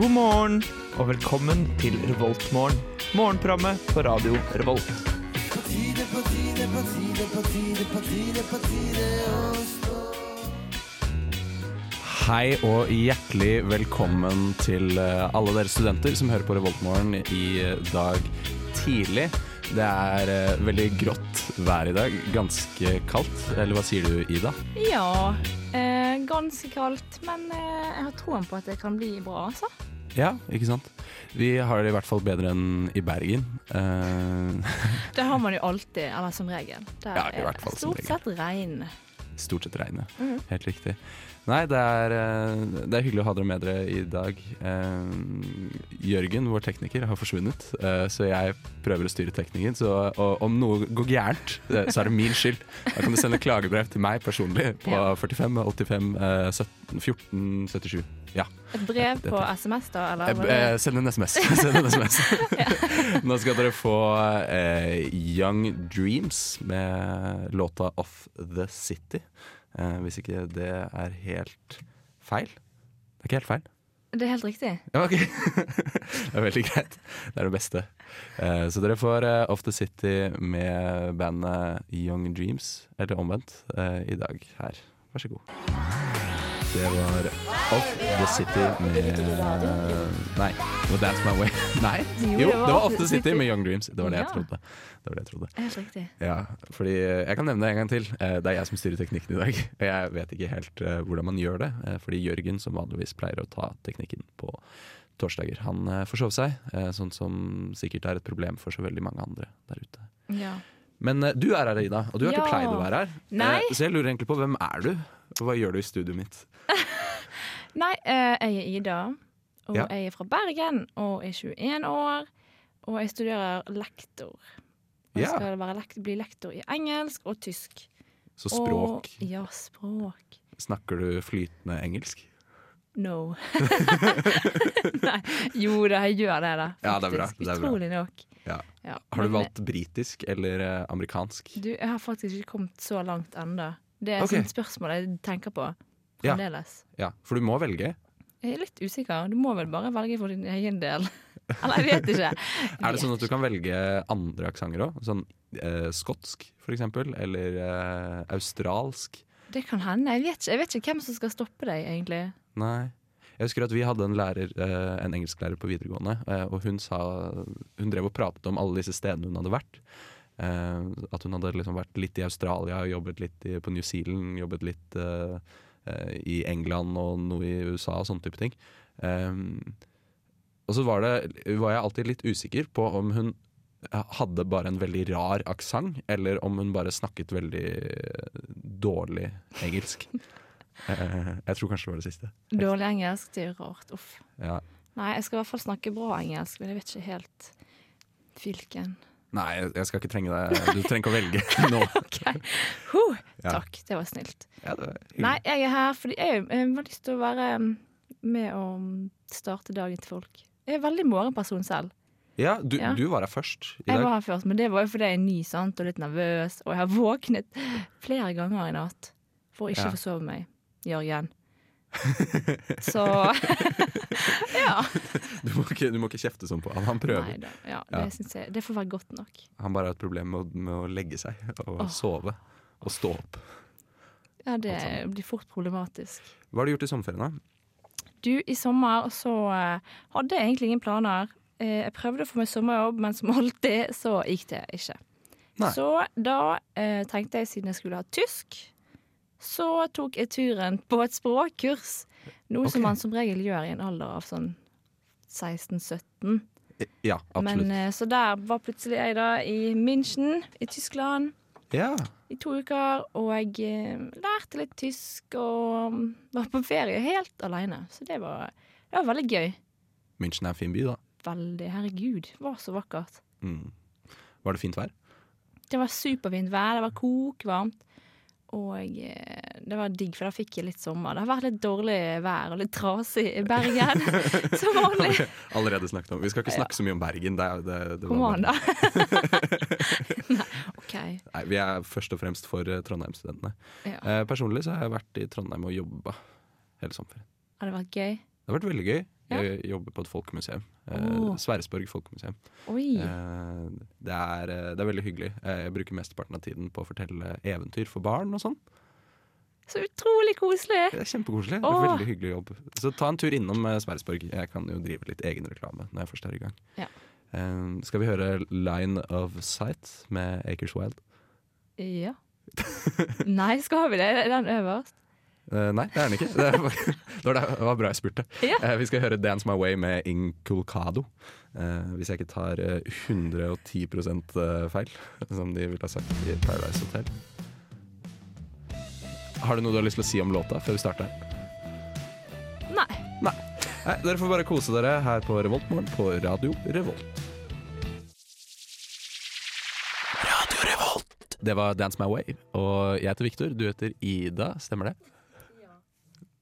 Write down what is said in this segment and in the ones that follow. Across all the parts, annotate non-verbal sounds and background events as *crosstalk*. God morgen og velkommen til Revoltmorgen. Morgenprogrammet på radio Revolt. Hei og hjertelig velkommen til eh, alle dere studenter som hører på Revoltmorgen i eh, dag tidlig. Det er eh, veldig grått vær i dag. Ganske kaldt. Eller hva sier du, Ida? Ja, eh, ganske kaldt, men eh, jeg har troen på at det kan bli bra, altså. Ja, ikke sant? Vi har det i hvert fall bedre enn i Bergen. Eh, *laughs* Det har man jo alltid, eller som regel. Der Ja, i er hvert fall det som stort sett regn. stort sett regn, ja. Helt riktig. Nei, det er, eh, det er hyggelig å ha dere med dere i dag. Eh, Jørgen, vår tekniker, har forsvunnet, eh, så jeg prøver å styre teknikken. Så og, om noe går gærent, eh, så er det min skyld. Da kan du sende klagebrev til meg personlig på Ja. 45 85 eh, 17 14 77. Ja. Et brev Dette- på SMS, da? Eller? Eh, var eh, det- send en SMS. *laughs* send en SMS. Nå skal dere få eh, Young Dreams med låta Off The City. Eh, hvis ikke det er helt feil. Det er ikke helt feil. Det er helt riktig. Ja, ok. *laughs* det er veldig greit. Det er det beste. Eh, så dere får eh, Off The City med bandet Young Dreams, eller omvendt, eh, i dag her. Vær så god. Det var Off The City med Nei, det var Dance My Way. *laughs* Nei, Jo, jo, det var Off The City med Young Dreams. Det var det jeg Ja. trodde. Det var det jeg trodde. Helt riktig. Ja, fordi eh, jeg kan nevne det en gang til. Eh, Det er jeg som styrer teknikken i dag. Og Jeg vet ikke helt eh, hvordan man gjør det, eh, fordi Jørgen, som vanligvis pleier å ta teknikken på torsdager, han eh, forsov seg. eh, Sånn som sikkert er et problem for så veldig mange andre der ute. Ja. Men eh, du er her, Ida, og du har ikke Ja. pleid å være her. Eh, Nei. Så jeg lurer egentlig på hvem er du? Og Hva gjør du i studioet mitt? Nei, eh, jeg er Ida, og Ja. jeg er fra Bergen og er 21 år. Og jeg studerer lektor. Og Ja. skal være lekt bli lektor i engelsk og tysk. Så språk. Og, ja, språk. Snakker du flytende engelsk? *laughs* No. Nei. Jo da, jeg gjør det, da. Ja, det er bra, Faktisk. det er bra. Utrolig nok. Ja. Ja, Har du men, valgt britisk eller eh, amerikansk? eh, Du, jeg har faktisk ikke kommet så langt ennå. Det er Ok. et sånt spørsmål jeg tenker på Ja. fremdeles. Ja, for du må velge. Jeg er litt usikker. Du må vel bare velge for din egen del. *laughs* Eller jeg vet ikke. *laughs* Er det sånn at du kan velge andre aksenter òg? Sånn eh, skotsk, for eksempel? Eller eh, australsk? Det kan hende. Jeg vet, ikke, jeg vet ikke hvem som skal stoppe deg, egentlig. Nei. Jeg husker at vi hadde en lærer, eh, en engelsklærer på videregående, eh, og hun sa Hun drev og pratet om alle disse stedene hun hadde vært. Eh, at hun hadde liksom vært litt i Australia, jobbet litt i, på New Zealand, jobbet litt eh, eh, i England og noe i USA og sånne type ting. Eh, og så var, det, var jeg alltid litt usikker på om hun eh, hadde bare en veldig rar aksent, eller om hun bare snakket veldig dårlig engelsk. *laughs* Eh, jeg tror kanskje det var det siste. Dårlig engelsk, det er jo rart. Uff. Ja. Nei, jeg skal i hvert fall snakke bra engelsk, men jeg vet ikke helt hvilken. Nei, jeg- jeg skal ikke trenge deg. Du trenger ikke å velge *laughs* nå. OK. Huh. Ja. Takk, det var snilt. Ja, det var hyggelig. Nei, jeg er her fordi jeg, eh, har lyst til å være mm, med og starte dagen til folk. Jeg er veldig morgenperson selv. Ja, du, Ja. du var her først i Jeg dag. var her først, men det var jo fordi jeg er ny sant, og litt nervøs. Og jeg har våknet flere ganger i natt for å ikke Ja. forsove meg, *laughs* Jørgen. Så *laughs* Ja. Du må ikke, du må ikke kjefte sånn på han. Han prøver. Nei da. Ja, Ja. det, synes jeg, det får være godt nok. Han bare har et problem med å, med å legge seg og Åh. sove og stå opp. Ja, det Alt sammen. blir fort problematisk. Hva har du gjort i sommerferien, da? Du, i sommer så eh, hadde jeg egentlig ingen planer. Eh, jeg prøvde å få meg sommerjobb, men som alltid så gikk det ikke. Nei. Så da eh, tenkte jeg, siden jeg skulle ha tysk, så tok jeg turen på et språkkurs. Noe Ok. som man som regel gjør i en alder av sånn 16-17. Eh, Ja, absolutt. Men, eh, så der var plutselig jeg da i München i Tyskland ja. i to uker, og jeg eh, lærte litt tysk og mm, var på ferie helt alene. Så det var, det var veldig gøy. München er en fin by, da. Veldig. Herregud, det var så vakkert. Mm. Var det fint vær? Det var superfint vær, det var kokvarmt. Og eh, det var digg, for da fikk jeg litt sommer. Det har vært litt dårlig vær og litt trasig i *laughs* Bergen, som vanlig. Allerede snakket om. Vi skal ikke snakke så mye om Bergen. Det, er- det, det var Kom bare- *laughs* an, da. *laughs* Nei, OK. Nei, vi er først og fremst for eh, Trondheim-studentene. Ja. Eh, personlig så har jeg vært i Trondheim og jobba hele sommerferien. Har det vært gøy? Det har vært veldig gøy. Jeg jobber på et folkemuseum. Eh, Åh. Sverresborg folkemuseum. Oi. Eh, det, er, eh, det er veldig hyggelig. Eh, jeg bruker mesteparten av tiden på å fortelle eventyr for barn og sånn. Så utrolig koselig! Det er kjempekoselig. Det er Åh. Veldig hyggelig jobb. Så ta en tur innom eh, Sverresborg. Jeg kan jo drive litt egen reklame når jeg først er i gang. Ja. Eh, skal vi høre 'Line of Sight' med Acres Wild? Ja. Nei, skal vi det? Er den øverst? Eh, nei, det er den ikke. Det, er, *laughs* det, var, det var bra jeg spurte. Ja. Eh, vi skal høre 'Dance My Way' med Inculcado. Eh, hvis jeg ikke tar eh, 110 eh, feil, *laughs* som de ville ha sagt i Paradise Hotel. Har du noe du har lyst til å si om låta før vi starter? Nei. Nei, Dere får bare kose dere her på Revoltmorgen på Radio Revolt. Radio Revolt! Det var Dance My Way. Og jeg heter Victor, du heter Ida, stemmer det?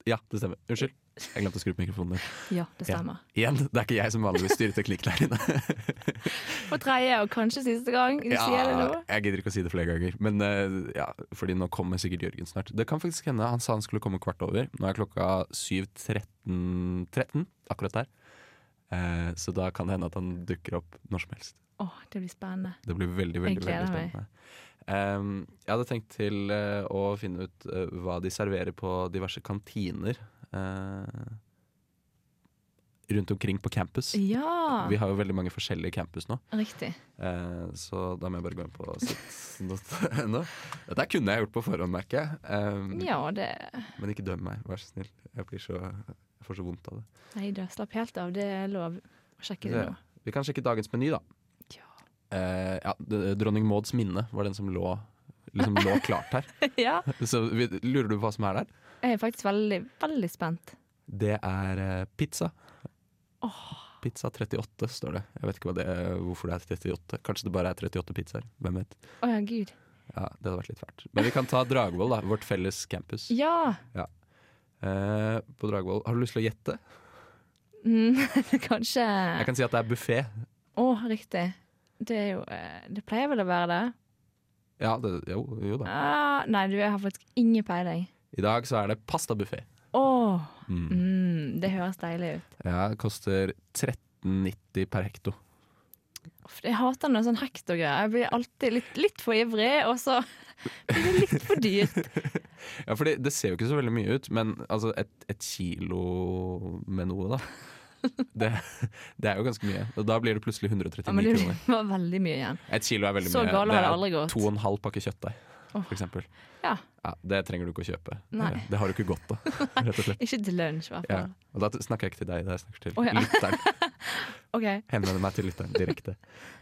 Ja, det stemmer. Unnskyld. Jeg glemte å skru på mikrofonen din. Ja, det Ja. stemmer. Igjen, det er ikke jeg som vanligvis styrer teknikk der inne. For tredje og kanskje siste gang du sier det nå. jeg gidder ikke å si det flere ganger. Men eh, ja, fordi nå kommer sikkert Jørgen snart. Det kan faktisk hende han sa han skulle komme kvart over. Nå er klokka 7.13 13, akkurat der. Eh, så da kan det hende at han dukker opp når som helst. Å, det blir spennende. Det blir veldig, veldig, Jeg gleder veldig meg. spennende. Ehm, jeg hadde tenkt til eh, å finne ut eh, hva de serverer på diverse kantiner eh, rundt omkring på campus. Ja, Vi har jo veldig mange forskjellige campus nå. riktig. Eh, så da må jeg bare gå inn på sitt.no. Dette kunne jeg gjort på forhånd, merker jeg. Ehm, Ja, det Men ikke døm meg, vær så snill. Jeg, blir så, jeg får så vondt av det. Nei da, slapp helt av. Det er lov å sjekke det Det- nå. *laughs* Vi kan sjekke dagens meny, da. Ja. Eh, ja, d- Dronning Mauds minne var den som lå, liksom *laughs* lå klart her. ja. Så vi, lurer du på hva som er der? Jeg er faktisk veldig, veldig spent. Det er eh, pizza. Åh. Pizza 38 står det. Jeg vet ikke hva det er, hvorfor det er 38. Kanskje det bare er 38 pizzaer. Hvem vet. Å ja, gud. Ja, Det hadde vært litt fælt. Men vi kan ta Dragvoll, da. Vårt felles campus. Ja! Eh, på Dragvoll. Har du lyst til å gjette? Mm, *laughs* kanskje Jeg kan si at det er buffé. Å, riktig. Det er jo eh, Det pleier vel å være det? Ja, det, jo, jo da. Ah, nei, du, jeg har faktisk ingen peiling. I dag så er det pastabuffé. Å! Mm. Mm, det høres deilig ut. Ja, det koster 13,90 per hekto. Uff, Jeg hater noe sånn hektor-greier. Jeg blir alltid litt, litt for ivrig, og så *laughs* blir det litt for dyrt. Ja, fordi det ser jo ikke så veldig mye ut, men altså et, et kilo med *laughs* noe, da. Det, det er jo ganske mye. Og da blir det plutselig Ja, 139 men det kroner. *laughs* var veldig mye igjen. Et kilo er veldig Så mye. gale det har det er aldri gått. to og en halv pakke kjøttdeig, Åh. for eksempel. Ja. Ja, det trenger du ikke å kjøpe. Nei. Det har du ikke godt av, rett og *laughs* slett. Ikke til lunsj, i hvert Ja. fall. Og da snakker jeg ikke til deg, da jeg snakker til Å, ja. lytteren. OK. Henvender meg til lytteren direkte.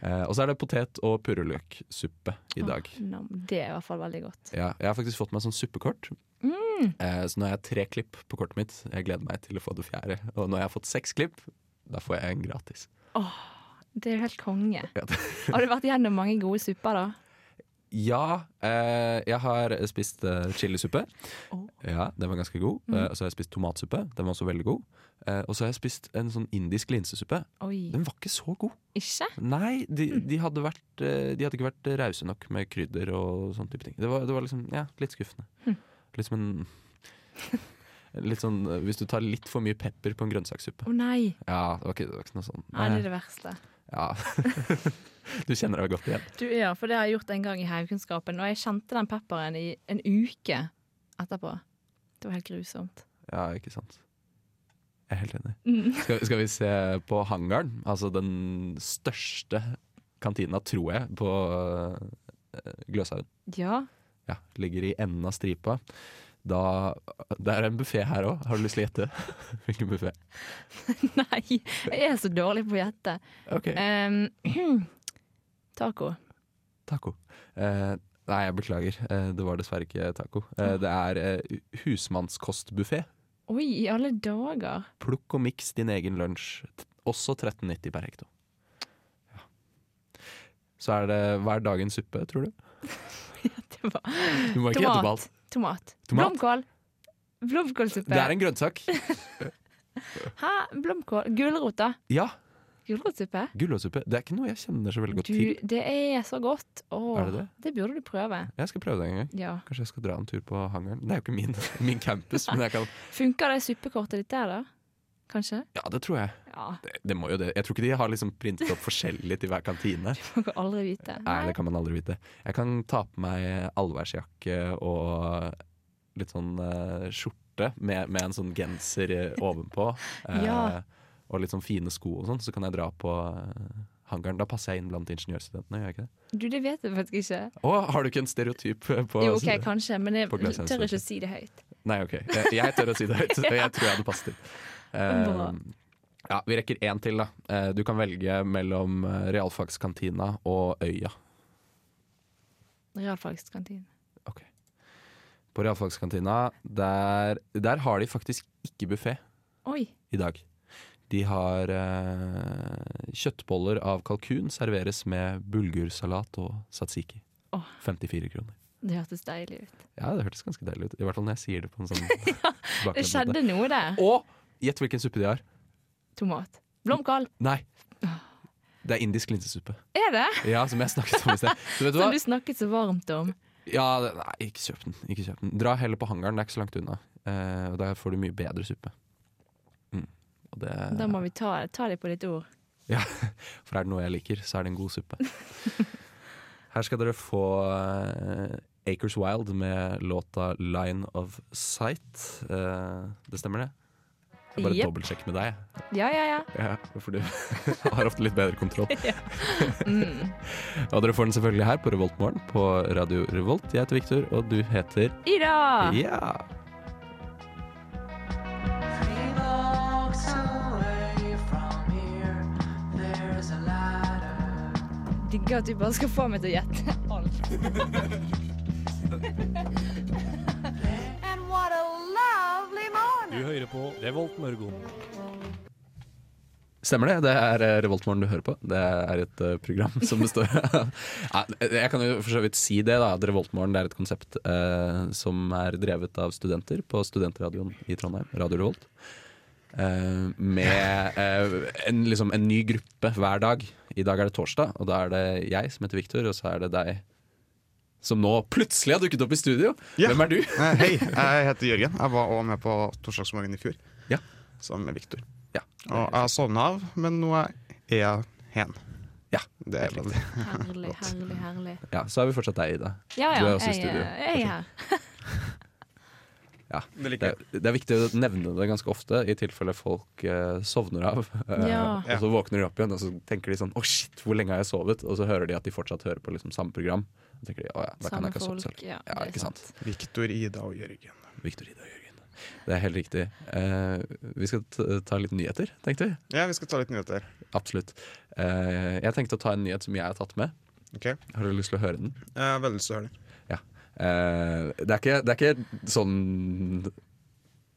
Eh, og så er det potet- og purreløksuppe i dag. Åh, nam, det er i hvert fall veldig godt. Ja, jeg har faktisk fått meg sånn suppekort. Mm. Eh, så nå har jeg tre klipp på kortet mitt. Jeg gleder meg til å få det fjerde. Og når jeg har fått seks klipp, da får jeg en gratis. Det er jo helt konge. Ja, det- Har du vært gjennom mange gode supper, da? Ja, eh, jeg har spist eh, chilisuppe. Åh. Mm. Ja, den var ganske god. Eh, og så har jeg spist tomatsuppe. Den var også veldig god. Eh, og så har jeg spist en sånn indisk linsesuppe. Oi. Den var ikke så god. Ikke? Nei, de, de, hadde vært, eh, de hadde ikke vært rause nok med krydder og sånne type ting. Det var, det var liksom, ja, litt skuffende. Litt som en *laughs* Litt sånn eh, hvis du tar litt for mye pepper på en grønnsakssuppe. Å nei. Ja, det var ikke, det var ikke noe sånn. Nei, det er det verste. Ja. *laughs* du kjenner deg godt igjen. Du, ja, for det har jeg gjort en gang i heimkunnskapen, og jeg kjente den pepperen i en uke etterpå. Det var helt grusomt. Ja, ikke sant. Jeg er helt enig. Mm. Skal, skal vi se på hangaren? Altså den største kantina, tror jeg, på eh, Gløshaugen. Ja. *laughs* ja, ligger i enden av stripa. Da, det er en buffé her òg. Har du lyst til å gjette *laughs* hvilken buffé? Nei, jeg er så dårlig på å gjette. Ok, Em, *clears throat* taco. taco. Eh, nei, jeg beklager. Eh, det var dessverre ikke taco. Eh, det er eh, husmannskostbuffé. Oi, i alle dager. Plukk og miks din egen lunsj. T- Også 13,90 per hekto. Ja. Så er det hver dagens suppe, *laughs* tror du? Det var Du må ikke gjette på alt. tomat. tomat. Tomat? Blomkål. Blomkålsuppe. Det er en grønnsak. Hæ? Blomkål? Gulrot, da. Ja, Gulrotsuppe? gulrotsuppe. Det er ikke noe jeg kjenner så veldig godt Du, til. det er så godt. Åh, Er det det? burde du prøve. Jeg skal prøve det en gang. Ja. Kanskje jeg skal *laughs* dra en tur på hangaren. Det er jo ikke min, min campus, men jeg kan Funker det suppekortet ditt der, da? kanskje? Ja, det tror jeg. Ja, Det, det må jo det. Jeg tror ikke de har liksom printet opp forskjellig til hver *laughs* kantine. Man kan aldri vite. Nei, det kan man aldri vite. Jeg kan ta på meg allværsjakke og litt sånn eh, skjorte med, med en sånn genser eh, ovenpå. *laughs* eh, Ja. Og litt sånn fine sko og sånn, så kan jeg dra på eh, hangaren. Da passer jeg inn blant ingeniørstudentene, gjør jeg ikke det? Du, det vet jeg faktisk ikke. Å, har du ikke en stereotyp eh, på Jo, OK, kanskje, men jeg På glasshus, tør ok. ikke å si det høyt. Nei, OK. Jeg, jeg tør å si det *laughs* høyt. så Jeg tror jeg hadde passet inn. Bra. Eh, ja, vi rekker én til, da. Eh, du kan velge mellom eh, realfagskantina og Øya. Realfagskantinen. Ok. På realfagskantina, der, der har de faktisk ikke buffé Oi. i dag. De har eh, kjøttboller av kalkun serveres med bulgursalat og satsiki. Åh. 54 kroner. Det hørtes deilig ut. Ja, det hørtes ganske deilig ut. I hvert fall når jeg sier det på en *laughs* sånn bakgrunn. Det skjedde noe der. Og gjett hvilken suppe de har. Tomat. Blomkål. Nei. Det er indisk linsesuppe. Er det? Ja, som jeg snakket om i sted. Så vet du hva? Som du snakket så varmt om. Ja, det- nei, ikke kjøp den. Ikke kjøp den. Dra heller på hangaren, det er ikke så langt unna. Eh, og der får du mye bedre suppe. Mm. Og det, Da må vi ta, ta det på ditt ord. For er det noe jeg liker, så er det en god suppe. *laughs* Her skal dere få eh, Acres Wild med låta 'Line of Sight'. Eh, det stemmer, det? Jeg bare Jep. dobbeltsjekker med deg. Ja, ja, ja. Ja, for du *laughs* har ofte litt bedre kontroll. *laughs* Mm. Og dere får den selvfølgelig her på Revoltmorgen på Radio Revolt. Jeg heter Victor, og du heter Ida! Ja. Three blocks away from here, there's a ladder. Digger at du bare skal få meg til å gjette *laughs* alt. And what a lovely morning! Du hører på Revolt Mørgon. Stemmer det. Det er eh, Revoltmorgen du hører på. Det er et eh, *laughs* program som består av ja, eh, Jeg kan jo for så vidt si det, da. At Revoltmorgen er et konsept eh, som er drevet av studenter på studentradioen i Trondheim, Radio Revolt. Eh, med eh, en, liksom en ny gruppe hver dag. I dag er det torsdag, og da er det jeg som heter Viktor, og så er det deg som nå plutselig har dukket opp i studio. Ja. Hvem er du? Eh, Hei, jeg heter Jørgen. Jeg var også med på torsdagsmorgen i fjor. Ja. Sammen med Viktor. Ja. Og jeg sovna av, men nå er jeg hen. Ja, Det er veldig Herlig, herlig, herlig. Ja, så er vi fortsatt deg, Ida. Ja, ja, Du er også i jeg, studio. er- jeg er her. Ja, det, er, det er viktig å nevne det ganske ofte, i tilfelle folk eh, sovner av. eh, Ja. Ja. Og så våkner de opp igjen og så tenker de sånn Å, shit, hvor lenge har jeg sovet? Og så hører de at de fortsatt hører på liksom, samme program. Og tenker de, å ja, da kan Samme jeg ikke ha sovet folk, selv. ja, Ja, det er ikke sant. Viktor, Ida og Jørgen. Victor, Ida og Jørgen. Det er helt riktig. Eh, vi skal t- ta litt nyheter, tenkte vi. Ja, vi skal ta litt nyheter. Absolutt. Eh, jeg tenkte å ta en nyhet som jeg har tatt med. Ok? Eh, Jeg Har du lyst til å høre den? har veldig lyst til å høre den. Eh, det, er ikke, det er ikke sånn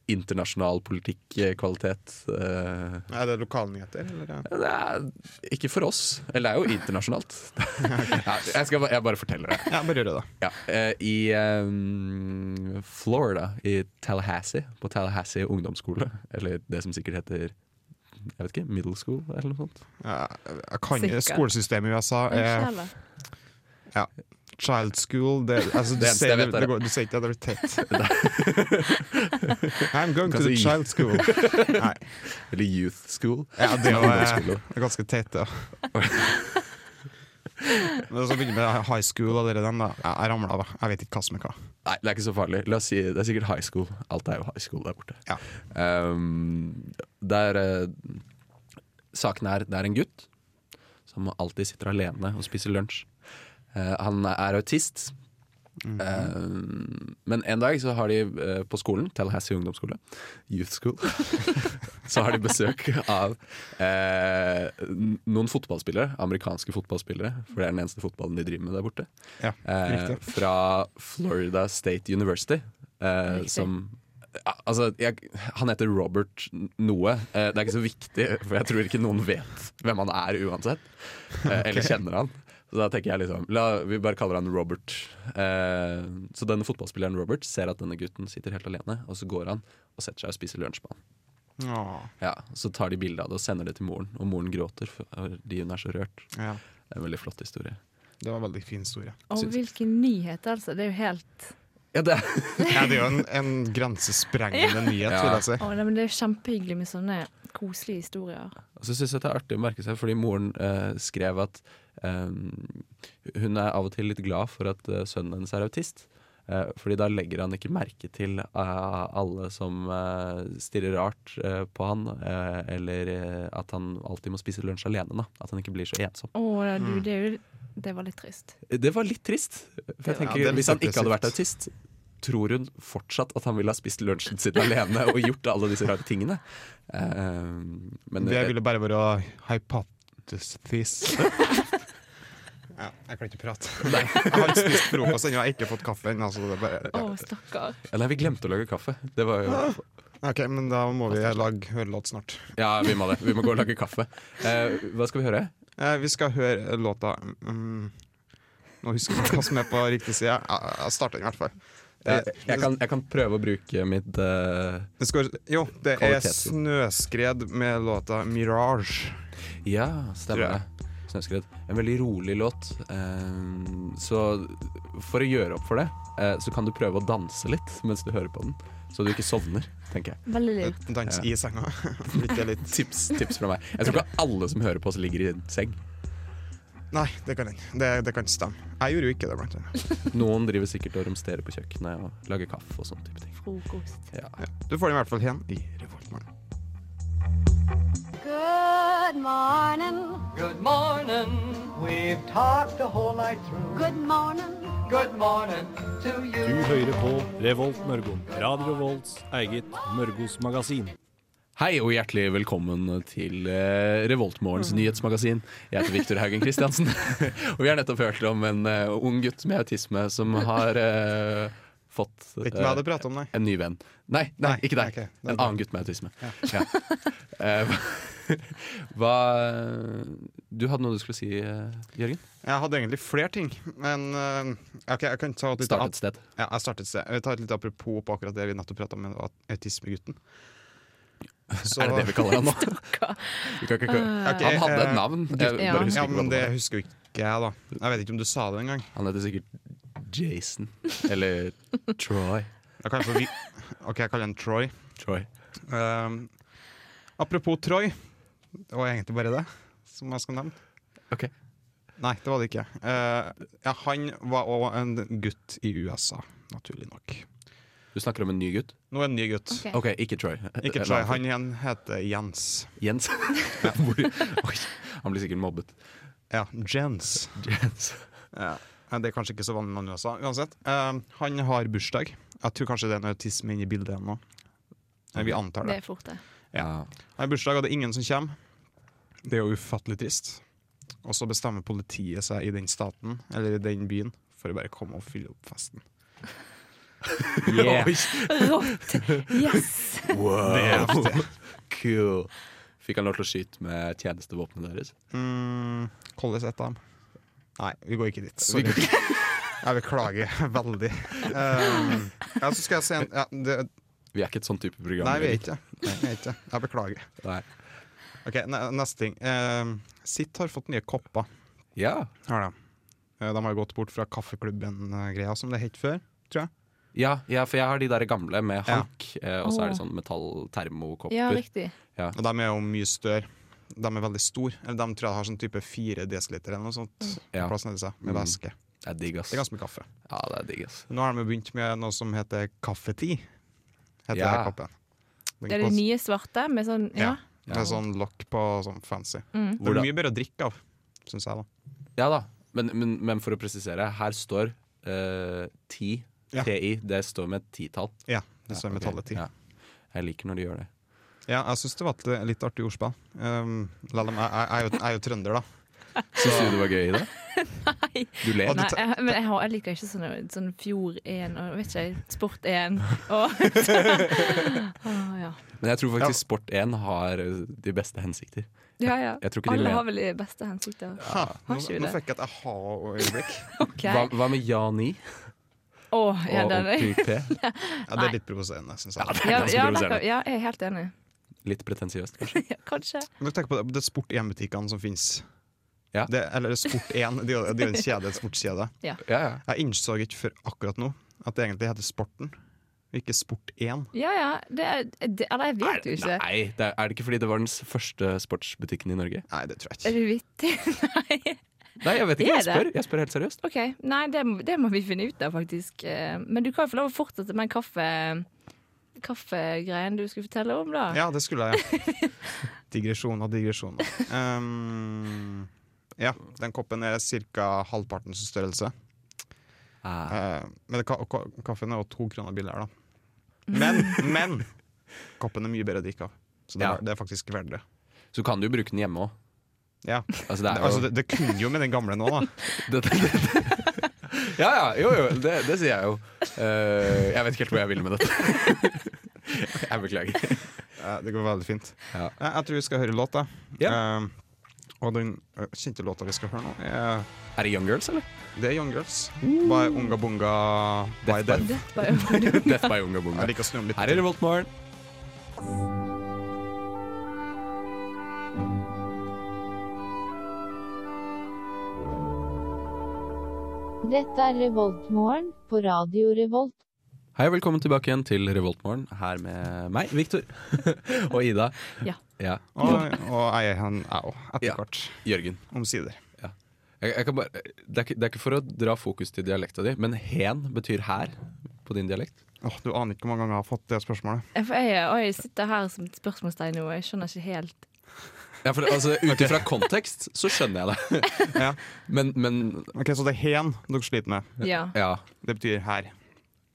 internasjonal politikkvalitet. Eh, Er det lokalnyheter, eller? er det- Det er ikke for oss. Eller det er jo internasjonalt. ja, jeg, skal, ba- jeg bare forteller det. Ja, bare gjør det, da. Ja, eh, I eh, Florida, i Tallahassee, på Tallahassee ungdomsskole, eller det som sikkert heter jeg vet ikke, middle school eller noe sånt. Jeg, jeg kan, Sikkert. skolesystemet i USA Unnskyld, er eller? child school. Det, altså, du, Det eneste sier, jeg det, vet er- det går, du sier ikke at det blir *laughs* tett. I'm going to Kanskje the i- child school. Nei, Eller youth school. ja, det som er var, ungdomsskole. Det er ganske teit, *laughs* ja. Men så begynner vi med high school og dere den, da. Jeg, jeg ramla, da. Jeg vet ikke hva som er hva. Nei, det er ikke så farlig. La oss si, det er sikkert high school. Alt er jo high school der borte. Ja. Ehm, der, eh, saken er, det er en gutt som alltid sitter alene og spiser lunsj. Eh, han er autist. Ehm, men en dag så har de eh, på skolen, Tallahassee ungdomsskole, youth school, *laughs* så har de besøk av eh, n- noen fotballspillere, amerikanske fotballspillere, for det er den eneste fotballen de driver med der borte Ja, eh, riktig. fra Florida State University. Eh, Riktig. som ja, Altså, jeg, han heter Robert n- noe. Eh, det er ikke så viktig, for jeg tror ikke noen vet hvem han er uansett. Eh, eller kjenner han. Så da tenker jeg liksom la, Vi bare kaller han Robert. Eh, så denne fotballspilleren Robert ser at denne gutten sitter helt alene, og så går han og setter seg og spiser lunsj med han. Åh, Ja, så tar de bilde av det og sender det til moren, og moren gråter fordi hun er så rørt. ja. Det er en veldig flott historie. Det var en veldig fin historie. Og Synes- hvilken nyhet, altså. Det er jo helt Ja, det er Ja, det er jo en, en grensesprengende nyhet, vil jeg si. Å, nei, men Det er jo kjempehyggelig med sånne koselige historier. Og så synes jeg det er artig å merke seg, fordi moren eh, skrev at eh, hun er av og til litt glad for at eh, sønnen hennes er autist. Eh, fordi da legger han ikke merke til eh, alle som eh, stirrer rart eh, på han, eh, eller eh, at han alltid må spise lunsj alene. Da. At han ikke blir så ensom. Å, du, Mm. det, er jo, det var litt trist. Det var litt trist. For jeg Ja, tenker, det er litt Hvis han ikke hadde vært depressivt. autist, tror hun fortsatt at han ville ha spist lunsjen sin alene og gjort alle disse rare tingene. Eh, men Det ville bare være hypothesis. Ja, jeg kan ikke prate. Nei. Jeg har ikke spist frokost ennå, jeg har ikke fått kaffe ennå. så det er Å, bare- ja. stakkar. Ja, Nei, vi glemte å lage kaffe. Det var jo Ok, men da må vi lage hørelåt snart. Ja, vi må det. Vi må gå og lage kaffe. Eh, hva skal vi høre? Eh, vi skal høre låta mm, Nå husker jeg ikke hva som er på riktig side. Jeg, jeg starter den i hvert fall. Eh, Jeg, jeg, kan, jeg kan prøve å bruke mitt eh, det skal, jo, det er Kvalitetsord. 'Snøskred' med låta 'Mirage'. Ja, Tror stemmer det. Snøskred. En veldig rolig låt. Eh, så for å gjøre opp for det, eh, så kan du prøve å danse litt mens du hører på den. Så du ikke sovner, tenker jeg. Veldig lurt. eh, Dans i *laughs* senga. Litt, det er litt Tips, tips fra meg. Jeg tror ikke alle som hører på oss, ligger i en seng. Nei, det kan den. Det, det kan ikke stemme. Jeg gjorde jo ikke det, blant annet. Noen driver sikkert og romsterer på kjøkkenet og lager kaffe og sånne type ting. Frokost. Ja. Du får den i hvert fall hen i Revoltmorgen. Good morning. Good morning. We've talked the whole night through. Good morning. Good morning to Du you. hører på Revolt Mørgon. Radio Revolts eget Mørgos magasin. Hei og hjertelig velkommen til eh, Revoltmorgens Mm. nyhetsmagasin. Jeg heter Viktor Haugen Kristiansen. *laughs* og vi har nettopp hørt om en eh, ung gutt med autisme som har eh, fått Det er ikke hva jeg eh, hadde pratet om, nei. en ny venn. Nei, nei, Nei, ikke deg. ok, det er en bra. annen gutt med autisme. Ja. *laughs* Eh, *laughs* hva Du hadde noe du skulle si, eh, Jørgen? Jeg hadde egentlig flere ting, men eh, ok, jeg kan ta et lite Start et sted. Ja, jeg startet et sted. Jeg vil ta et lite apropos på akkurat det vi nettopp prata om, med at- autismegutten. Så- Er det det vi kaller *laughs* han nå? *laughs* Vi kan ikke, Ok, han hadde eh, et navn. Jeg Ja. bare husker Ja, ikke hva men det det var. husker jo ikke jeg, da. Jeg vet ikke om du sa det engang. Han heter sikkert Jason. Eller Troy. Jeg kaller *laughs* for vi OK, jeg kaller han Troy. Troy. Um, apropos Troy, det var egentlig bare det som jeg skal nevne. Ok. Nei, det var det ikke. Eh, ja, han var òg en gutt i USA, naturlig nok. Du snakker om en ny gutt? Nå er det en ny gutt. Ok. Ok, ikke Troy. Ikke Troy, han igjen heter Jens. *laughs* Jens. *laughs* Hvor, oi, han blir sikkert mobbet. Ja, Jens. Jens. Ja. Det er kanskje ikke så vanlig navn i USA. Uansett, eh, han har bursdag. Jeg tror kanskje det er en autisme inne i bildet ennå. Eh, Vi antar Det det. er fort, det. Ja. Han har bursdag, og det er ingen som kommer. Det er jo ufattelig trist. Og så bestemmer politiet seg i den staten, eller i den byen, for å bare komme og fylle opp festen. Oi, Rått! Yes! *laughs* wow. Det er heftig. Cool. Fikk han lov til å skyte med tjenestevåpenet deres? Mm, Hvordan et av dem? Nei, vi går ikke dit. Sorry. Jeg beklager *laughs* veldig. Eh, ja, så skal jeg se en ja, det, Vi er ikke et sånn type program. Nei, vi er ikke det. Vi er ikke det. Jeg beklager. Nei. Ok, ne Neste ting. Eh, Sitt har fått nye kopper. Ja. Har de. Eh, de har gått bort fra kaffeklubben-greia, som det het før. tror jeg. Ja, ja, for jeg har de der gamle med Ja. hank, eh, og så er det Åh. sånn metalltermokopper. Ja, riktig. Og de er jo mye større. De er veldig store. Eller de tror jeg har sånn type 4 dl eller noe sånt. Ja. Plass nedi seg, med Mm. væske. Det er digg, ass. Det er ganske mye kaffe. Ja, det er digg, ass. Nå har de jo begynt med noe som heter kaffeti. Heter Ja. det koppen. Den Det er det kost- nye svarte med sånn Ja. Ja. Med sånn lokk på sånn Mm. fancy. Det er Hvordan- mye bedre å drikke av, syns jeg, da. Ja da, men, men, men for å presisere, her står eh, ti. Ja. TI. Det står med et titall. Ja, det står Ja, ok. metallet i. Ja. Jeg liker når de gjør det. Ja, jeg syns det var et litt artig ordspill. Um, la dem, jeg, jeg, jeg, er jo- jeg er jo trønder, da. Syns du det var gøy i det? *laughs* Nei. Du ler. Nei, jeg, men jeg, har, jeg liker ikke sånne, sånn Fjord 1 og vet ikke, Sport 1 *laughs* og *laughs* Å, ja. Men jeg tror faktisk Sport 1 har eh, de beste hensikter. Ja, ja. Jeg tror ikke de Alle ler. har vel de beste hensikter. Ha, nå, ikke vi nå det? fikk jeg et aha-øyeblikk. OK. Hva, hva med Jani Å, og *laughs* ja, den er Onkel P? Ja, det er litt provoserende, syns jeg. ja, ganske ja, der provoserende. kan- ja, jeg er helt enig. Litt pretensiøst, kanskje. *laughs* Ja, kanskje. Men tenk på det, det er Sport 1-butikkene som fins. Ja. Det, eller Sport 1, det er jo- det er jo en kjede, en sportskjede. Ja, ja. Jeg innså ikke før akkurat nå at det egentlig heter Sporten. ikke Sport 1. Ja ja, det er, det, eller jeg vet jo ikke. Nei, det er, er det ikke fordi det var den s- første sportsbutikken i Norge? Nei, det tror jeg ikke. Er du vittig? *laughs* Nei. Nei, jeg vet ikke. Jeg Er spør, jeg spør helt seriøst. OK. Nei, det, må- det må vi finne ut av, faktisk. Eh, Men du kan jo få lov å fortsette med den kaffe, kaffegreien du skulle fortelle om, da. Ja, det skulle jeg. *laughs* Digresjon og digresjon. Um, ja, den koppen er ca. halvpartens størrelse. Ah, Eh, men ka ka kaffen er jo to kroner billigere, da. Men, *laughs* men! Koppen er mye bedre å drikke av. Så det, Ja. er- det er faktisk verdt det. så kan du jo bruke den hjemme òg. Ja. Altså, det er jo Altså, det, det kunne jo med den gamle nå, da. det, det, det. *laughs* Ja ja, jo jo, det, det sier jeg jo. Eh, jeg vet ikke helt hvor jeg vil med dette. *laughs* jeg beklager. Eh, Det går veldig fint. Ja. Eh, Jeg tror vi skal høre låt, da. Ja. Eh, og den eh, kjente låta vi skal høre nå, er, Er det Young Girls, eller? *laughs* det er Young Girls. By Unga Bunga by Death by- Death. Dette var jo Death by Unga Bunga. Jeg liker å snu om litt. Her er Revolt Morgen. Dette er Revoltmorgen på Radio Revolt. Hei og velkommen tilbake igjen til Revoltmorgen. Her med meg, Viktor. *laughs* og Ida. Ja. ja. Og, og jeg er han au, etter Ja. hvert. Jørgen. Omsider. Jeg, jeg kan bare, det, er ikke, det er ikke for å dra fokus til dialekta di, men hen betyr her på din dialekt. Åh, du aner ikke hvor mange ganger jeg har fått det spørsmålet. *laughs* Jeg, jeg, og jeg sitter her som et spørsmålstegn nå, og jeg skjønner ikke helt. Ja, for altså, Ut ifra kontekst så skjønner jeg det. Ja. *laughs* Men, men Ok, Så det er hen dere sliter med. Ja. ja. Det betyr her.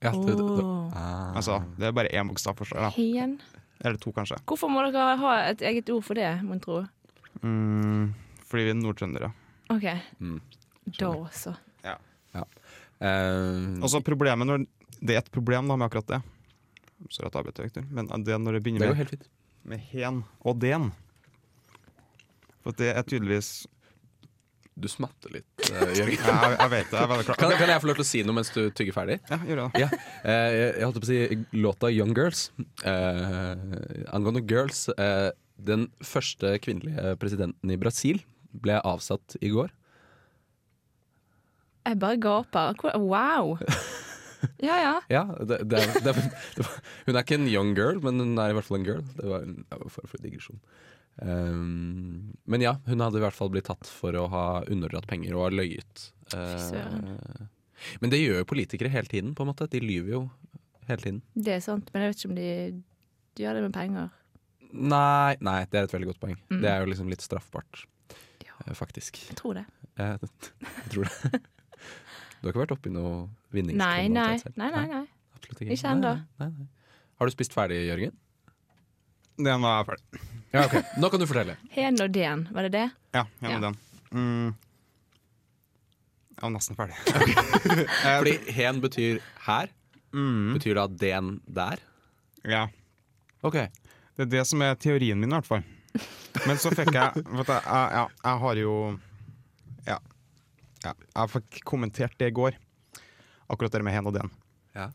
ja det, det, Ah. Åh. Altså, det er bare én bokstav, forstår jeg. Hen. da. Eller to, kanskje. Hvorfor må dere ha et eget ord for det, mon tro? Mm, fordi vi er nordtrøndere. OK. Mm. Da også. eh, Og så Altså, problemet når Det er et problem da med akkurat det. Sorry at jeg avbryter, Victor, men det er når det det begynner går med, helt fint. med hen og den. For det er tydeligvis Du smatter litt, eh, *laughs* Jørgen. Ja, Jeg, jeg vet det, jeg er veldig klar. Kan, kan jeg få lov til å si noe mens du tygger ferdig? Ja, gjør det. Ja, eh, jeg, jeg holdt på å si låta 'Young Girls'. Eh, angående girls eh, Den første kvinnelige presidenten i Brasil ble avsatt i går. Jeg bare gaper. Hvor- *laughs* Wow! Ja ja. Ja, det, det, er- *laughs* det, er- det, var- Hun er ikke en young girl, men hun er i hvert fall en girl. Det var en det var en form for digresjon. Eh, men ja, hun hadde i hvert fall blitt tatt for å ha underdratt penger og ha løyet. Eh, søren. men det gjør jo politikere hele tiden, på en måte. De lyver jo hele tiden. Det er sant, men jeg vet ikke om de, de gjør det med penger. Nei, nei, det er et veldig godt poeng. Det er jo liksom litt straffbart, Mm. Ja. eh, faktisk. Jeg tror det. Eh, *laughs* det- Jeg tror det. Du har ikke vært oppi noe Nei, nei. vinningskriminalitet selv? Nei, nei, nei. absolutt ikke. Ikke ennå. Nei, nei, nei. Har du spist ferdig, Jørgen? Den var jeg ferdig. Ja, ok. Nå kan du fortelle. Hen og den, var det det? Ja, ja. Ja. den. Mm. Jeg var nesten ferdig. Eh, Fordi Mm. hen betyr her. Betyr da den der? Ja. Ok. Det er det som er teorien min, i hvert fall. Men så fikk jeg vet du, jeg, ja, jeg har jo ja, ja, Jeg fikk kommentert det i går, akkurat det med hen og den. Ja.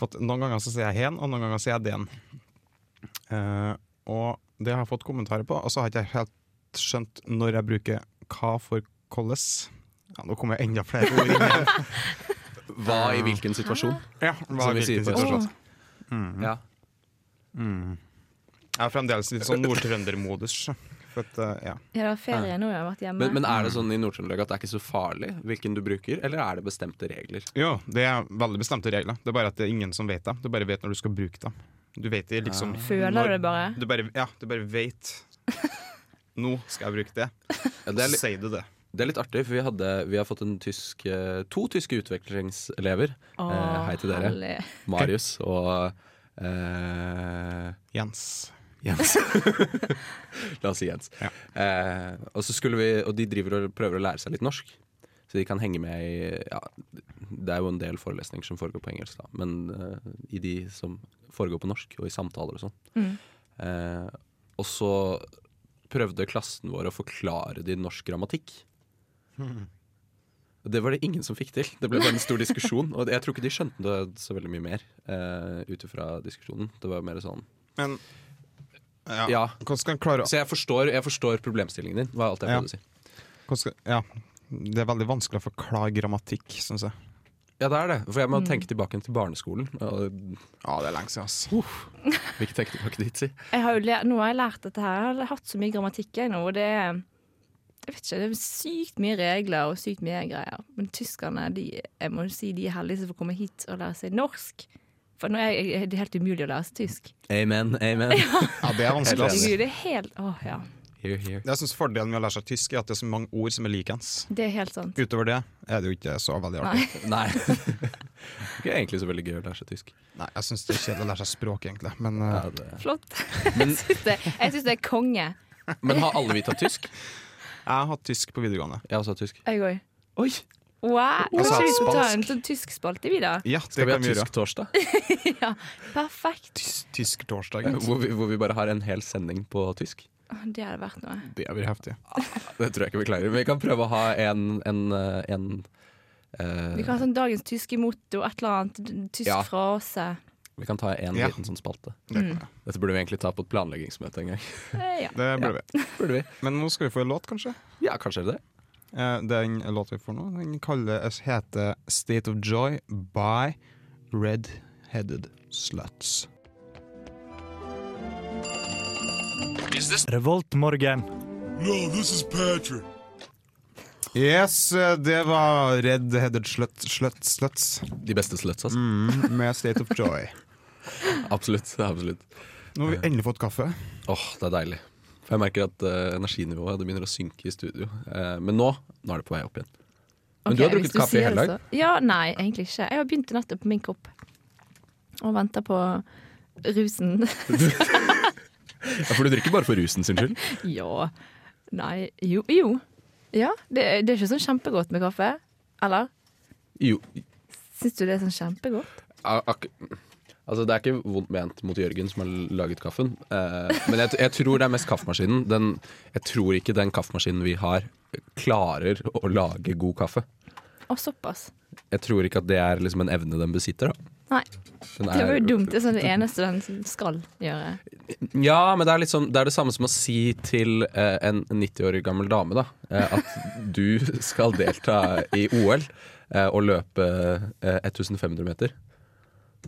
For at noen ganger så sier jeg hen, og noen ganger sier jeg den. Eh, og det har jeg fått kommentarer på, og så har ikke jeg helt skjønt når jeg bruker hva for hvordan. Ja, nå kommer jeg enda flere ord *laughs* inn. her. Hva i hvilken situasjon? Ja, hva Som er vi sier på hvilken situasjon? Østlandet. Ja. Jeg er fremdeles litt sånn nordtrøndermodus. For at, eh, ja. Ja, det var ferie nå, jeg har vært hjemme. Men, men er det sånn i Nord-Trøndelag at det er ikke så farlig hvilken du bruker, eller er det bestemte regler? Jo, det er veldig bestemte regler. Det er bare at det er ingen som vet dem. Du bare vet når du skal bruke dem. Du vet det liksom Føler når- du det bare? Du bare ja, du bare *laughs* vet. Nå skal jeg bruke det. Ja, det Så er litt- sier du det. Det er litt artig, for vi, hadde, vi har fått en tysk, eh, to tyske utvekslingselever. Eh, hei til dere. herlig. Marius og eh, Jens. Jens. La oss si Jens. Ja. Eh, og, så skulle vi, og de driver og prøver å lære seg litt norsk. Så de kan henge med i ja, Det er jo en del forelesninger som foregår på engelsk, da, men eh, i de som foregår på norsk, og i samtaler og sånn. Eh, og så prøvde klassen vår å forklare de norsk grammatikk. *laughs* Og Det var det ingen som fikk til. Det ble bare en stor diskusjon. Og jeg tror ikke de skjønte det så veldig mye mer uh, ut ifra diskusjonen. Det var mer sånn Men ja. Ja. Hvordan skal en klare Så jeg forstår, jeg forstår problemstillingen din. Var alt jeg Ja. prøvde å si hvordan skal, Ja. Det er veldig vanskelig å forklare grammatikk, syns jeg. Ja, det er det. For jeg må Mm. tenke tilbake til barneskolen. og- Ja, det er lenge siden, ass. Vil ikke tenke tilbake dit, si. Jeg har jo lært, nå har jeg lært dette her. Jeg har hatt så mye grammatikk jeg nå, og det er jeg vet ikke, Det er sykt mye regler og sykt mye greier. Men tyskerne de, jeg må jo si, de er heldige som får komme hit og lære seg norsk. For nå er jeg- det er helt umulig å lære seg tysk. Amen, amen. Ja, det er vanskelig, ass. Gud, det er helt, åh, ja. Here, here. Jeg synes Fordelen med å lære seg tysk er at det er så mange ord som er likens. Det er helt sant. Utover det er det jo ikke så veldig artig. Nei. *laughs* Det er egentlig så veldig gøy å lære seg tysk. Nei, jeg syns det er kjedelig å lære seg språk, egentlig. Men eh, Ja, det. Flott. *laughs* Jeg syns det, jeg synes det er konge. Men har alle vi tatt tysk? jeg har hatt tysk på videregående. Jeg har også hatt tysk. Jeg òg. Oi! Wow. Altså, Kanskje vi skal ta spansk. en sånn tysk spalte, vi, da? Ja, det Skal vi ha kan vi gjøre. tysk *laughs* torsdag? Perfekt. Tys Tyskertorsdag. Eh, Hvor vi, hvor vi bare har en hel sending på tysk? Åh, Det hadde vært noe. Det blir heftig. Det tror jeg ikke vi klarer. Men vi kan prøve å ha en, en, eh, en eh, Vi kan ha sånn dagens tyske motto, et eller annet. Tysk Ja. frase. vi kan ta en Ja. liten sånn spalte. Det, kan vi. Dette burde vi egentlig ta på et planleggingsmøte en gang. *laughs* Eh, Ja. det burde vi. Burde vi? Men nå skal vi få en låt, kanskje. Ja, kanskje det. Eh, Den låta vi får nå, den kaller, eh, heter 'State of Joy by Red Headed Sluts'. Revoltmorgen. Yes, eh, det var Red Headed Slut, Slut, Sluts De beste sluts, altså. mm, med 'State of Joy'. Absolutt. absolutt. Nå har vi endelig fått kaffe. Åh, det er deilig. For jeg merker at eh, energinivået det begynner å synke i studio. Eh, men nå, nå er det på vei opp igjen. Men du har Ok, drukket hvis kaffe i sier hele det, dag? så- Ja, nei, egentlig ikke. Jeg har begynt nettopp på min kopp. Og venter på rusen. *laughs* Ja, For du drikker bare for rusen sin skyld? ja. Nei, jo. jo. Ja, det, det er ikke sånn kjempegodt med kaffe. Eller? *laughs* Jo. Syns du det er sånn kjempegodt? a- Ak altså, det er ikke vondt ment mot Jørgen som har laget kaffen, eh, men jeg, t- jeg tror det er mest kaffemaskinen. Den, jeg tror ikke den kaffemaskinen vi har, klarer å lage god kaffe. Å, såpass. Jeg tror ikke at det er liksom en evne den besitter. Da. Nei, Den det var er- jo dumt. Det er sånn det eneste den skal gjøre. Ja, men det er, litt sånn- det er det samme som å si til eh, en 90 år gammel dame da, eh, at *laughs* du skal delta i OL eh, og løpe eh, 1500 meter.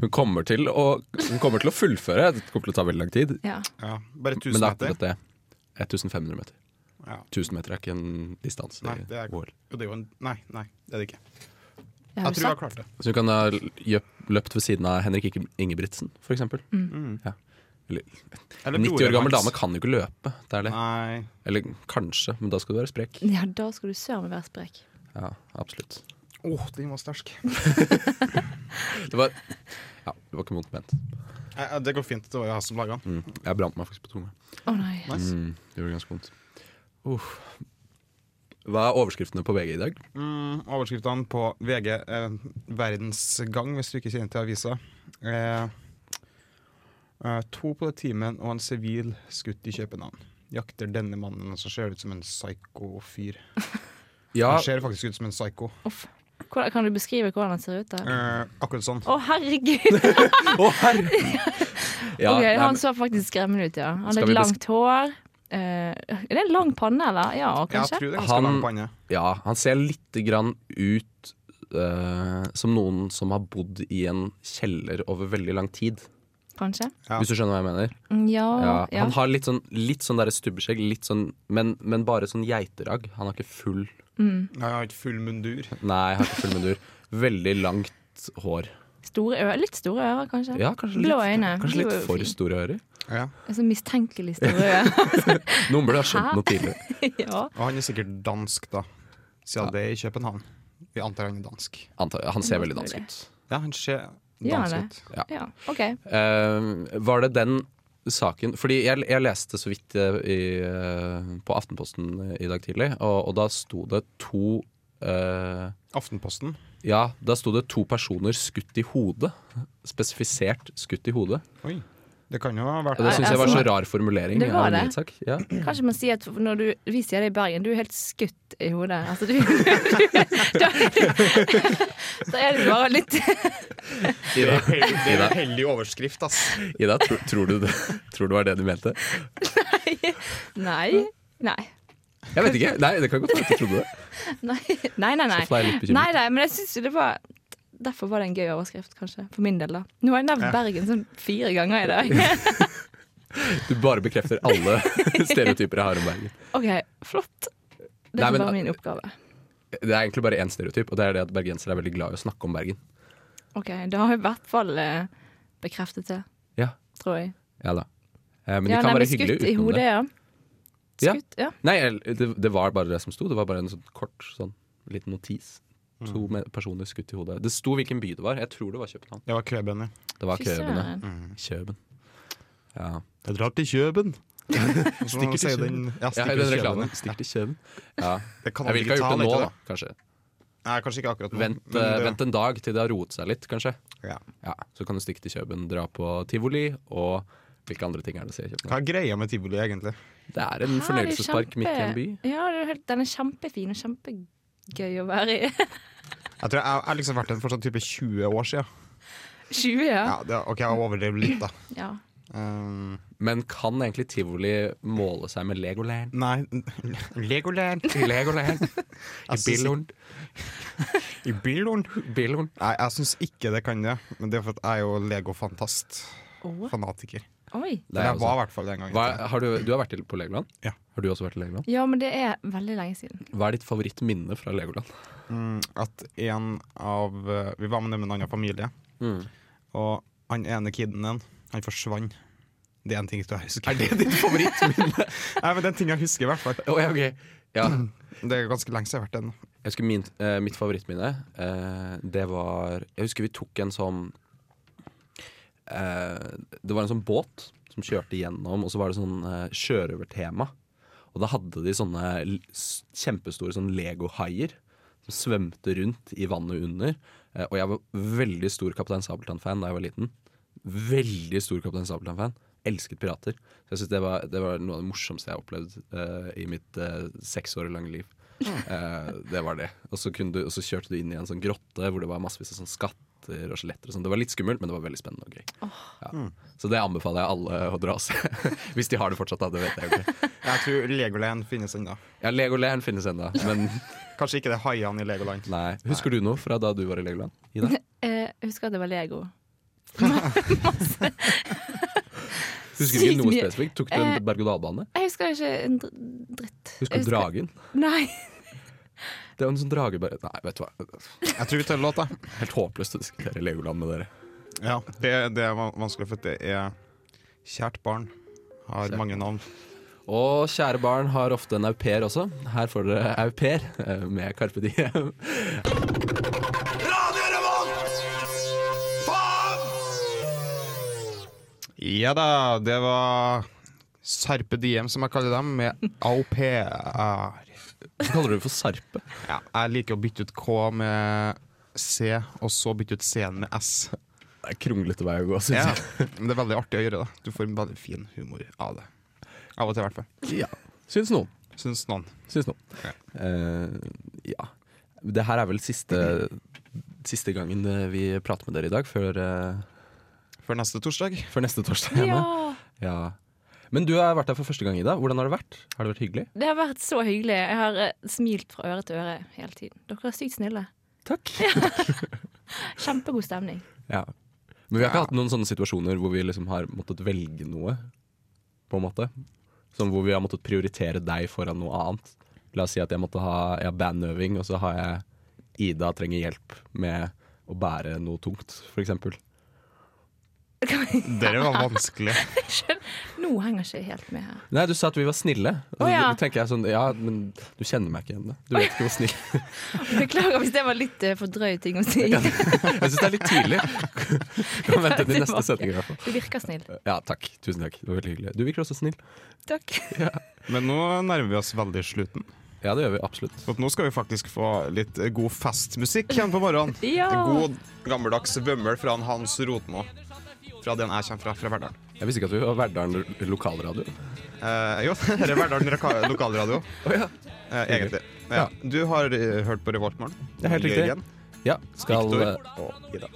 Hun kommer til å, hun kommer til å fullføre, det kommer til å ta veldig lang tid. Ja. Ja, bare 1000 Men det er meter. akkurat det. 1500 meter. Ja. 1000 meter er ikke en distanse Nei, i det er, OL. jo, det er jo en, nei, nei, det er det ikke. Jeg har Jeg du tror jeg har sett? klart det. Så hun kan ha løp- løpt ved siden av Henrik Inge- Ingebrigtsen, for eksempel. Ja. Eller, Mm. Eller 90 år broren gammel hans. dame kan jo ikke løpe, det er det. Nei. Eller kanskje, men da skal du være sprek. Ja, da skal du søren meg være sprek. Ja, absolutt. Åh, den var sterk. Det var, *laughs* ja, det var ikke vondt ment. Nei, ja, Eh, det går fint. Det var jo jeg som laga den. Mm. Jeg brant meg faktisk på tunga. Å nei. Nice. Mm, det gjorde ganske vondt. Uff. Hva er overskriftene på VG i dag? Mm, overskriftene på VG eh, Verdensgang, hvis du ikke kjenner til avisa. Eh, eh, to politimenn og en sivil skutt i København. Jakter denne mannen, og så ser det ut som en psyko-fyr. Ja, Han ser faktisk ut som en psyko. Uff. Hvordan, kan du beskrive hvordan den ser ut? da? Eh, akkurat sånn. Å, herregud! å herre! *laughs* Ja, Ok, nei, han men- så faktisk skremmende ut, ja. Han Skal hadde vi et langt hår. Eh, er det en lang panne, eller? Ja, Jeg kanskje? tror det er ganske Han- lang panne. ja, han ser litt grann ut eh, som noen som har bodd i en kjeller over veldig lang tid. Kanskje? Ja. Hvis du skjønner hva jeg mener? Mm, Ja, ja, Ja, han har litt sånn, litt sånn der stubbeskjegg, litt sånn, men, men bare sånn geiteragg. Han har ikke full Han har ikke full mundur. Nei, har ikke full mundur. Veldig langt hår. Store ører, litt store ører, kanskje? Ja, kanskje Blå litt, øyne. Kanskje De var litt jo for fine. store ører. Ja. Så sånn mistenkelig store *laughs* ører. Noen burde ha skjønt noe tidligere. ja. Og han er sikkert dansk, da. Siden det er i København. Vi antar han er dansk. Antar- Han ser veldig dansk ut. Ja, han ser Ja, dansk det. ut. ja, OK. Eh, var det den saken Fordi jeg, jeg leste så vidt eh, i, eh, på Aftenposten i dag tidlig, og, og da sto det to eh, Aftenposten. Ja, da sto det to personer skutt i hodet. Spesifisert skutt i hodet. Oi. Det kan jo ha vært Og det syns jeg var så Altså, rar formulering. det var av en det. nyhetssak. Ja. Kanskje man sier at når du, vi sier det i Bergen, du er helt skutt i hodet. Altså, du, *laughs* du, så er det bare litt Ida, Det Ida, er heldig overskrift, ass. Ida tror, tror, du det, tror du det var det du mente? Nei. Nei. Jeg vet ikke. Nei, det kan godt være at du trodde det. Nei, nei, nei. nei. Så ble jeg litt bekymret. nei, nei men jeg syns jo det var derfor var det en gøy overskrift, kanskje. For min del, da. Nå har jeg nevnt Ja. Bergen sånn fire ganger i dag. Du bare bekrefter alle *laughs* stereotyper jeg har om Bergen. OK, flott. Det Nei, var men- bare min oppgave. Det er egentlig bare én stereotyp, og det er det at bergensere er veldig glad i å snakke om Bergen. OK, det har jeg i hvert fall eh, bekreftet det, Ja, tror jeg. ja da. Eh, Men de ja, kan være nei, men hyggelige skutt i utenom hodet, det. ja. Ja. Skutt, ja. Nei, el- det, det var bare det som sto. Det var bare en sånn kort sånn liten notis. Mm. To me- personer skutt i hodet. Det sto hvilken by det var. Jeg tror det var København. Det var kløbønner. Det var Fy Køben, ja. søren. Køben. Ja. Jeg drar til *laughs* Kjøben. Stikker til Kjøben. ja, Ja, stikker den til reklamen. Kjøben. Stikk til Køben. Ja. Det kan Jeg man ville ikke ikke ha ta gjort det litt nå, av da, kanskje. Nei, kanskje ikke akkurat nå. Vent, men eh, det- vent en dag til det har roet seg litt, kanskje. Ja. Ja, Så kan du stikke til Køben, dra på tivoli og hvilke andre ting er det å se i Hva København? er greia med tivoli, egentlig? Det er en Ja, det er jo fornøyelsespark midt i en by. kjempe- Ja, det er helt- den er kjempefin og kjempegøy å være i. *laughs* Jeg tror jeg jeg har liksom vært der for sånn type 20 år siden. 20, ja. Ja, det, ok, jeg overdrev litt, da. ja. Um, Men kan egentlig tivoli måle seg med Legoland? nei *laughs* Legoland! *laughs* Legoland i synes Billund. I bilen? Billund. Nei, jeg syns ikke det kan det. Men det er for at jeg er jo Lego-fantast. Å, Fanatiker. Oi. Det Men er jeg var i også. hvert fall det en gang. Hva, har du, du har vært til- på Legoland? Ja. Har du også vært til Legoland? Ja, men det er veldig lenge siden. Hva er ditt favorittminne fra Legoland? Mm, at en av eh, Vi var med dem med en annen familie, Mm. og han ene kiden den, han forsvant. Det er en ting jeg husker. Er det ditt favorittminne? *laughs* Nei, men det er en ting jeg husker, i hvert fall. Å, Oh, ja, ok. ja. Det er ganske lenge siden jeg har vært den. Jeg husker min, eh, mitt favorittminne. eh, det var Jeg husker vi tok en sånn eh, Det var en sånn båt som kjørte gjennom, og så var det sånn uh, sjørøvertema. Og da hadde de sånne l- s- kjempestore sånn legohaier som svømte rundt i vannet under. Eh, og jeg var veldig stor Kaptein Sabeltann-fan da jeg var liten. Veldig stor Kaptein Sabeltann-fan. Elsket pirater. Så jeg synes det, var, det var noe av det morsomste jeg har opplevd eh, i mitt eh, seks år lange liv. Eh, det var det. Og så, kunne du, og så kjørte du inn i en sånn grotte hvor det var massevis av sånn skatter og skjeletter. og sånn. Det var litt skummelt, men det var veldig spennende og gøy. Ja. Så det anbefaler jeg alle å dra og se. *laughs* Hvis de har det fortsatt, da. Det vet jeg jo ikke. Jeg tror Legoland finnes ennå. Ja, Legoland finnes ennå, men Kanskje ikke det er haiene i Legoland. nei. Husker du noe fra da du var i Legoland? Ida? Eh, Jeg husker at det var Lego. Husker du Sykt ikke noe mye. spesifikt? Tok du en Eh, berg-og-dal-bane? Jeg husker ikke en dr- dritt. Husker Jeg du dragen? Nei. *laughs* Det var en sånn drage bare Nei, vet du hva. Jeg tror vi tar en låt, da. Helt håpløst å diskutere Legoland med dere. Ja, det, det er van- vanskelig, for det er Kjært barn har mange navn. Og kjære barn har ofte en au pair også. Her får dere au pair eh, med Carpe Diem. Ja da, det var Sarpe Diem, som jeg kaller dem, med au pair. Så kaller du det for sarpe. Ja, jeg liker å bytte ut K med C, og så bytte ut C-en med S. Det er kronglete vei å gå, syns Ja. jeg. *laughs* Men det er veldig artig å gjøre det. Du får en veldig fin humor av det. Av og til, i hvert fall. Ja. Syns noen. Syns noen. Syns noen. Ja. Eh, ja. Det her er vel siste, siste gangen eh, vi prater med dere i dag, før, eh, Før neste torsdag. før neste torsdag. Hanne. Ja. ja. Men du har vært her for første gang, Ida. Hvordan har det vært? Har det vært hyggelig? Det har vært så hyggelig. Jeg har eh, smilt fra øre til øre hele tiden. Dere er sykt snille. Takk. Kjempegod stemning. *laughs* Ja. Men vi har ikke hatt noen sånne situasjoner hvor vi liksom har måttet velge noe, på en måte. Sånn hvor vi har måttet prioritere deg foran noe annet. La oss si at jeg måtte ha jeg har bandøving, og så har jeg Ida trenger hjelp med å bære noe tungt, f.eks. Dere var vanskelig. Nå henger jeg ikke helt med her. Nei, du sa at vi var snille. Og Å, ja. da tenker jeg sånn, ja, men du kjenner meg ikke igjen. da. Du vet ikke hvor snill Beklager hvis det var litt eh, for drøy ting å si. Jeg syns det er litt tidlig. Kan vente til neste setning i hvert fall. Du virker *laughs* snill. Ja, takk. Tusen takk. Det var veldig hyggelig. Du virker også snill. Takk. Men nå nærmer vi oss veldig slutten. Ja, det gjør vi absolutt. For at nå skal vi faktisk få litt eh, god festmusikk igjen på morgenen. Ja. En god gammeldags vømmel fra en Hans Rotmo. Fra den jeg kommer fra, fra Verdalen. Jeg visste ikke at vi var Verdalen lo- lokalradio. Eh, jo, *laughs* det er Verdalen loka- lokalradio, eh, egentlig. Ja. Du har eh, hørt på Revoltmorgen. Det er helt riktig. Jørgen, Ja, skal, eh, Victor og Ida.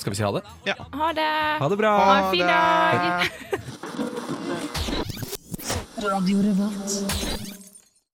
skal vi si ha det? Ha det. Ha det bra! Ha en fin dag. Radio Revolt.